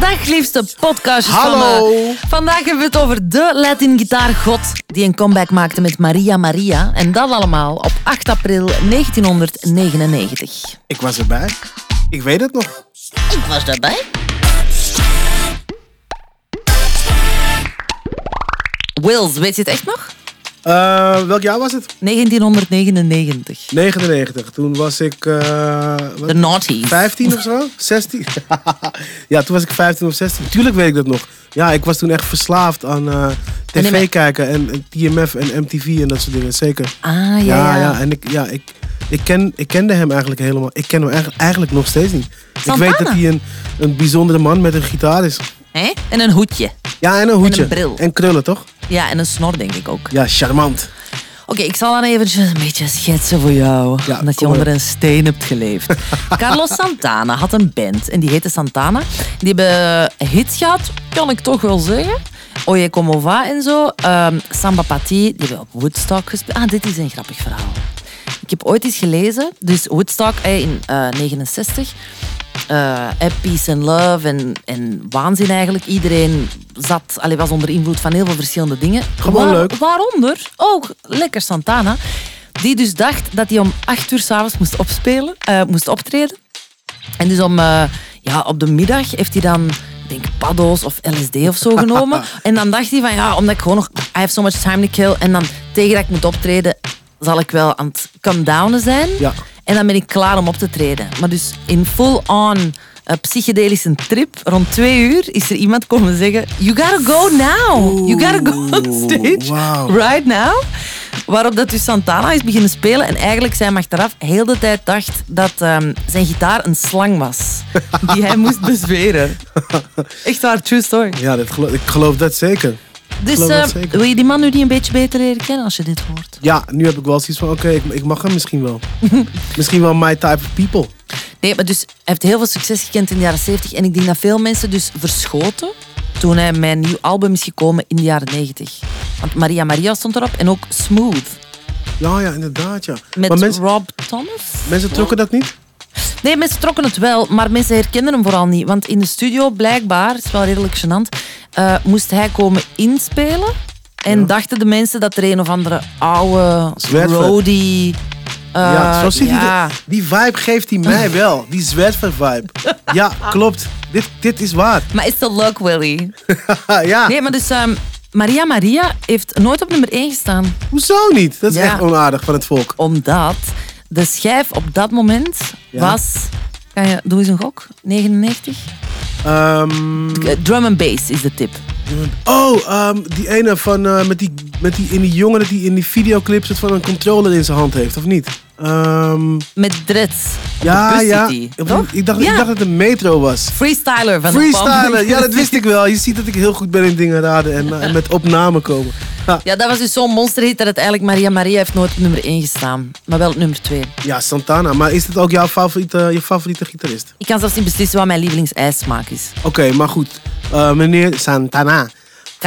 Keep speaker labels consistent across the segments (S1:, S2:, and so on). S1: Dag, liefste podcast
S2: Hallo.
S1: Vandaag hebben we het over de Latin gitaargod die een comeback maakte met Maria Maria. En dat allemaal op 8 april 1999.
S2: Ik was erbij. Ik weet het nog.
S1: Ik was daarbij. Wills, weet je het echt nog?
S2: Eh, welk jaar was het?
S1: 1999.
S2: 99. Toen was ik eh, wat?
S1: De Naughty.
S2: 15 of zo? 16? ja, toen was ik 15 of 16. Tuurlijk weet ik dat nog. Ja, ik was toen echt verslaafd aan eh,
S1: En
S2: tv
S1: in-
S2: kijken en, en TMF en MTV en dat soort dingen. Zeker.
S1: Ah, ja,
S2: Ja,
S1: ja.
S2: ja. En ik, ja, ik, ik, ken, ik kende hem eigenlijk helemaal. Ik ken hem eigenlijk, eigenlijk nog steeds niet.
S1: Santana.
S2: Ik weet dat hij een, een bijzondere man met een gitaar is.
S1: Hè? En een hoedje.
S2: Ja, en een hoedje.
S1: bril.
S2: En krullen, toch?
S1: Ja, en een snor denk ik ook.
S2: Ja, charmant.
S1: Oké, ik zal dan eventjes een beetje schetsen voor jou.
S2: Ja,
S1: omdat je
S2: kom maar.
S1: onder een steen hebt geleefd. Carlos Santana had een band en die heette Santana. Die hebben hits gehad, kan ik toch wel zeggen. Oye Como Va en zo. Ehm, Samba Pati, die hebben op Woodstock gespeeld. Ah, dit is een grappig verhaal. Ik heb ooit iets gelezen, dus Woodstock eh, in 1969. eh, Peace and Love en, en waanzin eigenlijk. Iedereen zat, allee, was onder invloed van heel veel verschillende dingen.
S2: Gewoon leuk.
S1: Waaronder ook lekker Santana. Die dus dacht dat hij om acht uur s'avonds moest opspelen, eh, moest optreden. En dus om, eh, ja, op de middag heeft hij dan, ik denk paddo's of LSD of zo genomen. en dan dacht hij van, ja, omdat ik gewoon nog, I have so much time to kill. En dan tegen dat ik moet optreden, zal ik wel aan het come downen zijn.
S2: Ja.
S1: En dan ben ik klaar om op te treden. Maar dus in full-on eh, psychedelische trip, rond twee uur, is er iemand komen zeggen... You gotta go now. you gotta go on stage
S2: wauw.
S1: right now. Waarop dat dus Santana is beginnen spelen en eigenlijk zijn achteraf heel de tijd dacht dat ehm, zijn gitaar een slang was. Die hij moest bezweren. Echt waar, true story.
S2: Ja, dat gelo- ik geloof dat zeker.
S1: Dus
S2: geloof dat
S1: eh,
S2: zeker.
S1: wil je die man nu die een beetje beter leren kennen als je dit hoort?
S2: Ja, nu heb ik wel zoiets van, oké, ik, ik mag hem misschien wel. misschien wel my type of people.
S1: Nee, maar dus hij heeft heel veel succes gekend in de jaren 70. En ik denk dat veel mensen dus verschoten toen hij mijn nieuw album is gekomen in de jaren 90. Want Maria Maria stond erop en ook Smooth.
S2: Ja, ja, inderdaad, ja.
S1: Met
S2: maar mensen,
S1: Rob Thomas.
S2: mensen trokken dat niet?
S1: Nee, mensen trokken het wel, maar mensen herkenden hem vooral niet. Want in de studio, blijkbaar, het is wel redelijk gênant, eh, moest hij komen inspelen. En dachten de mensen dat er een of andere oude
S2: Zwerver.
S1: roadie... eh,
S2: ja, zo ziet
S1: ja.
S2: hij de- Die vibe geeft hij mij wel. Die zwerver vibe. ja, klopt. Dit, dit is waar. Ah,
S1: Maar is dat leuk, Willy?
S2: ja,
S1: Nee, maar dus ehm, Maria Maria heeft nooit op nummer 1 gestaan.
S2: hoezo niet? Dat is
S1: Ja.
S2: echt onaardig van het volk.
S1: Omdat de schijf op dat moment
S2: Ja.
S1: was... Kan je, doe eens een gok. 99?
S2: Mm. Ehm,
S1: Eh, Drum and bass is de tip.
S2: oh, ehm, die ene van, eh, met, die, met die, in die jongen die in die videoclip zit van een controller in zijn hand heeft, of niet? Ehm,
S1: Met dreads. Op de
S2: ja,
S1: bus zit
S2: ja.
S1: die,
S2: Ik,
S1: toch?
S2: ik dacht,
S1: Ja.
S2: ik dacht dat het een metro was.
S1: Freestyler van de
S2: Freestylen,
S1: Pam.
S2: ja, dat wist ik wel. Je ziet dat ik heel goed ben in dingen raden en, eh, en met opname komen. Ha.
S1: Ja, dat was dus zo'n monsterhit dat uiteindelijk Maria Maria heeft nooit op nummer 1 gestaan. Maar wel op nummer 2.
S2: Ja, Santana, maar is dit ook jouw favoriete, je favoriete gitarist?
S1: Ik kan zelfs niet beslissen wat mijn lievelingsijsmaak is.
S2: Oké, maar goed. Eh, meneer Santana. Van-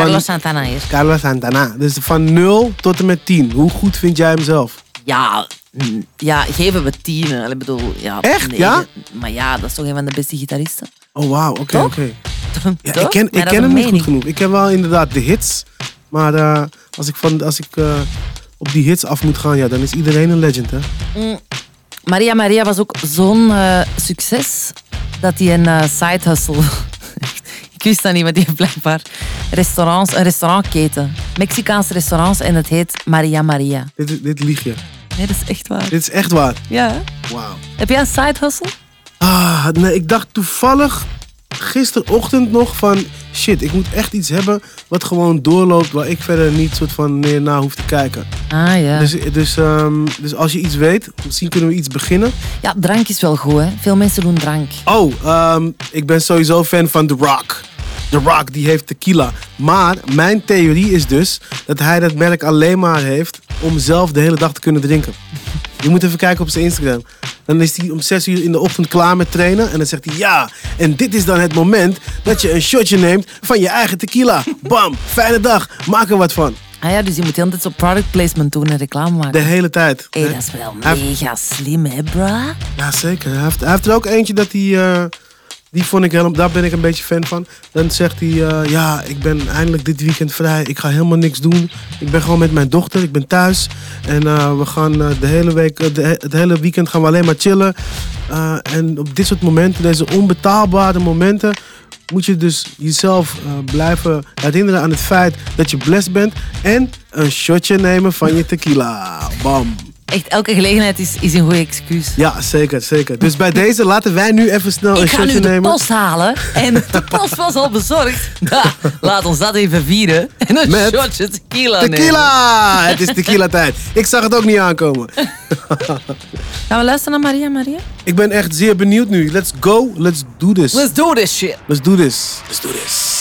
S1: Carlos Santana hier.
S2: Carlos Santana. Dus van 0 tot en met 10. Hoe goed vind jij hem zelf?
S1: Ja, mm, ja geven we tien. hè. Ik bedoel, ja,
S2: Echt, ja?
S1: Maar ja, dat is toch een van de beste gitaristen.
S2: Oh, wauw. Oké,
S1: Toch?
S2: oké. Ja,
S1: Toch?
S2: ik
S1: Maar
S2: ken, ik
S1: dat is een
S2: ken hem niet goed
S1: mening.
S2: genoeg. Ik ken wel inderdaad de hits. Maar eh, als ik, van, als ik eh, op die hits af moet gaan, ja, dan is iedereen een legend, hè?
S1: Maria Maria was ook zo'n eh, succes dat hij een eh, side hustle. ik wist dat niet, maar die heeft blijkbaar restaurants, een restaurantketen. Mexicaanse restaurants en het heet Maria Maria.
S2: Dit, is- dit lieg je.
S1: Nee, dat is echt waar.
S2: Dit is echt waar.
S1: Ja. hè?
S2: Wauw.
S1: Heb jij een side hustle?
S2: Ah, nee, ik dacht toevallig gisterochtend nog van... Shit, ik moet echt iets hebben wat gewoon doorloopt... waar ik verder niet soort van meer naar hoef te kijken.
S1: Ah ja.
S2: Dus, dus, ehm, dus als je iets weet, misschien kunnen we iets beginnen.
S1: Ja, drank is wel goed, hè? Veel mensen doen drank.
S2: Oh, ehm, ik ben sowieso fan van The Rock. The Rock, die heeft tequila. Maar mijn theorie is dus dat hij dat merk alleen maar heeft... om zelf de hele dag te kunnen drinken. Je moet even kijken op zijn Instagram. Dan is hij om 6 uur in de ochtend klaar met trainen. En dan zegt hij ja. En dit is dan het moment dat je een shotje neemt van je eigen tequila. Bam, fijne dag. Maak er wat van.
S1: Ah ja, dus je moet heel tijd zo product placement doen en reclame maken.
S2: De hele tijd.
S1: Hé, dat is wel
S2: Hij-
S1: mega slim, hè, bruh?
S2: Ja, zeker. Hij heeft, hij heeft er ook eentje dat hij... eh, Die vond ik helemaal, daar ben ik een beetje fan van. Dan zegt hij, eh, ja, ik ben eindelijk dit weekend vrij. Ik ga helemaal niks doen. Ik ben gewoon met mijn dochter, ik ben thuis. En eh, we gaan eh, de hele week, eh, de he- het hele weekend gaan we alleen maar chillen. Eh, en op dit soort momenten, deze onbetaalbare momenten, moet je dus jezelf eh, blijven herinneren aan het feit dat je blessed bent. En een shotje nemen van je tequila. Bam.
S1: Echt, elke gelegenheid is, is een goede excuus.
S2: Ja, zeker, zeker. Dus bij deze laten wij nu even snel een
S1: ik ga
S2: shotje
S1: nu de
S2: nemen.
S1: post halen. En de post was al bezorgd. Nou, laat ons dat even vieren. En een
S2: Met
S1: shotje tequila nemen.
S2: Tequila! Het is tequila tijd. Ik zag het ook niet aankomen.
S1: Gaan we luisteren naar Maria, Maria?
S2: Ik ben echt zeer benieuwd nu. Let's go, let's do this.
S1: Let's do this shit.
S2: Let's do this. Let's do this.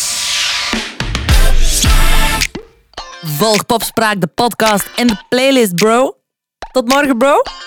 S1: Volg Popspraak, de podcast en de playlist, bro. Tot morgen, bro.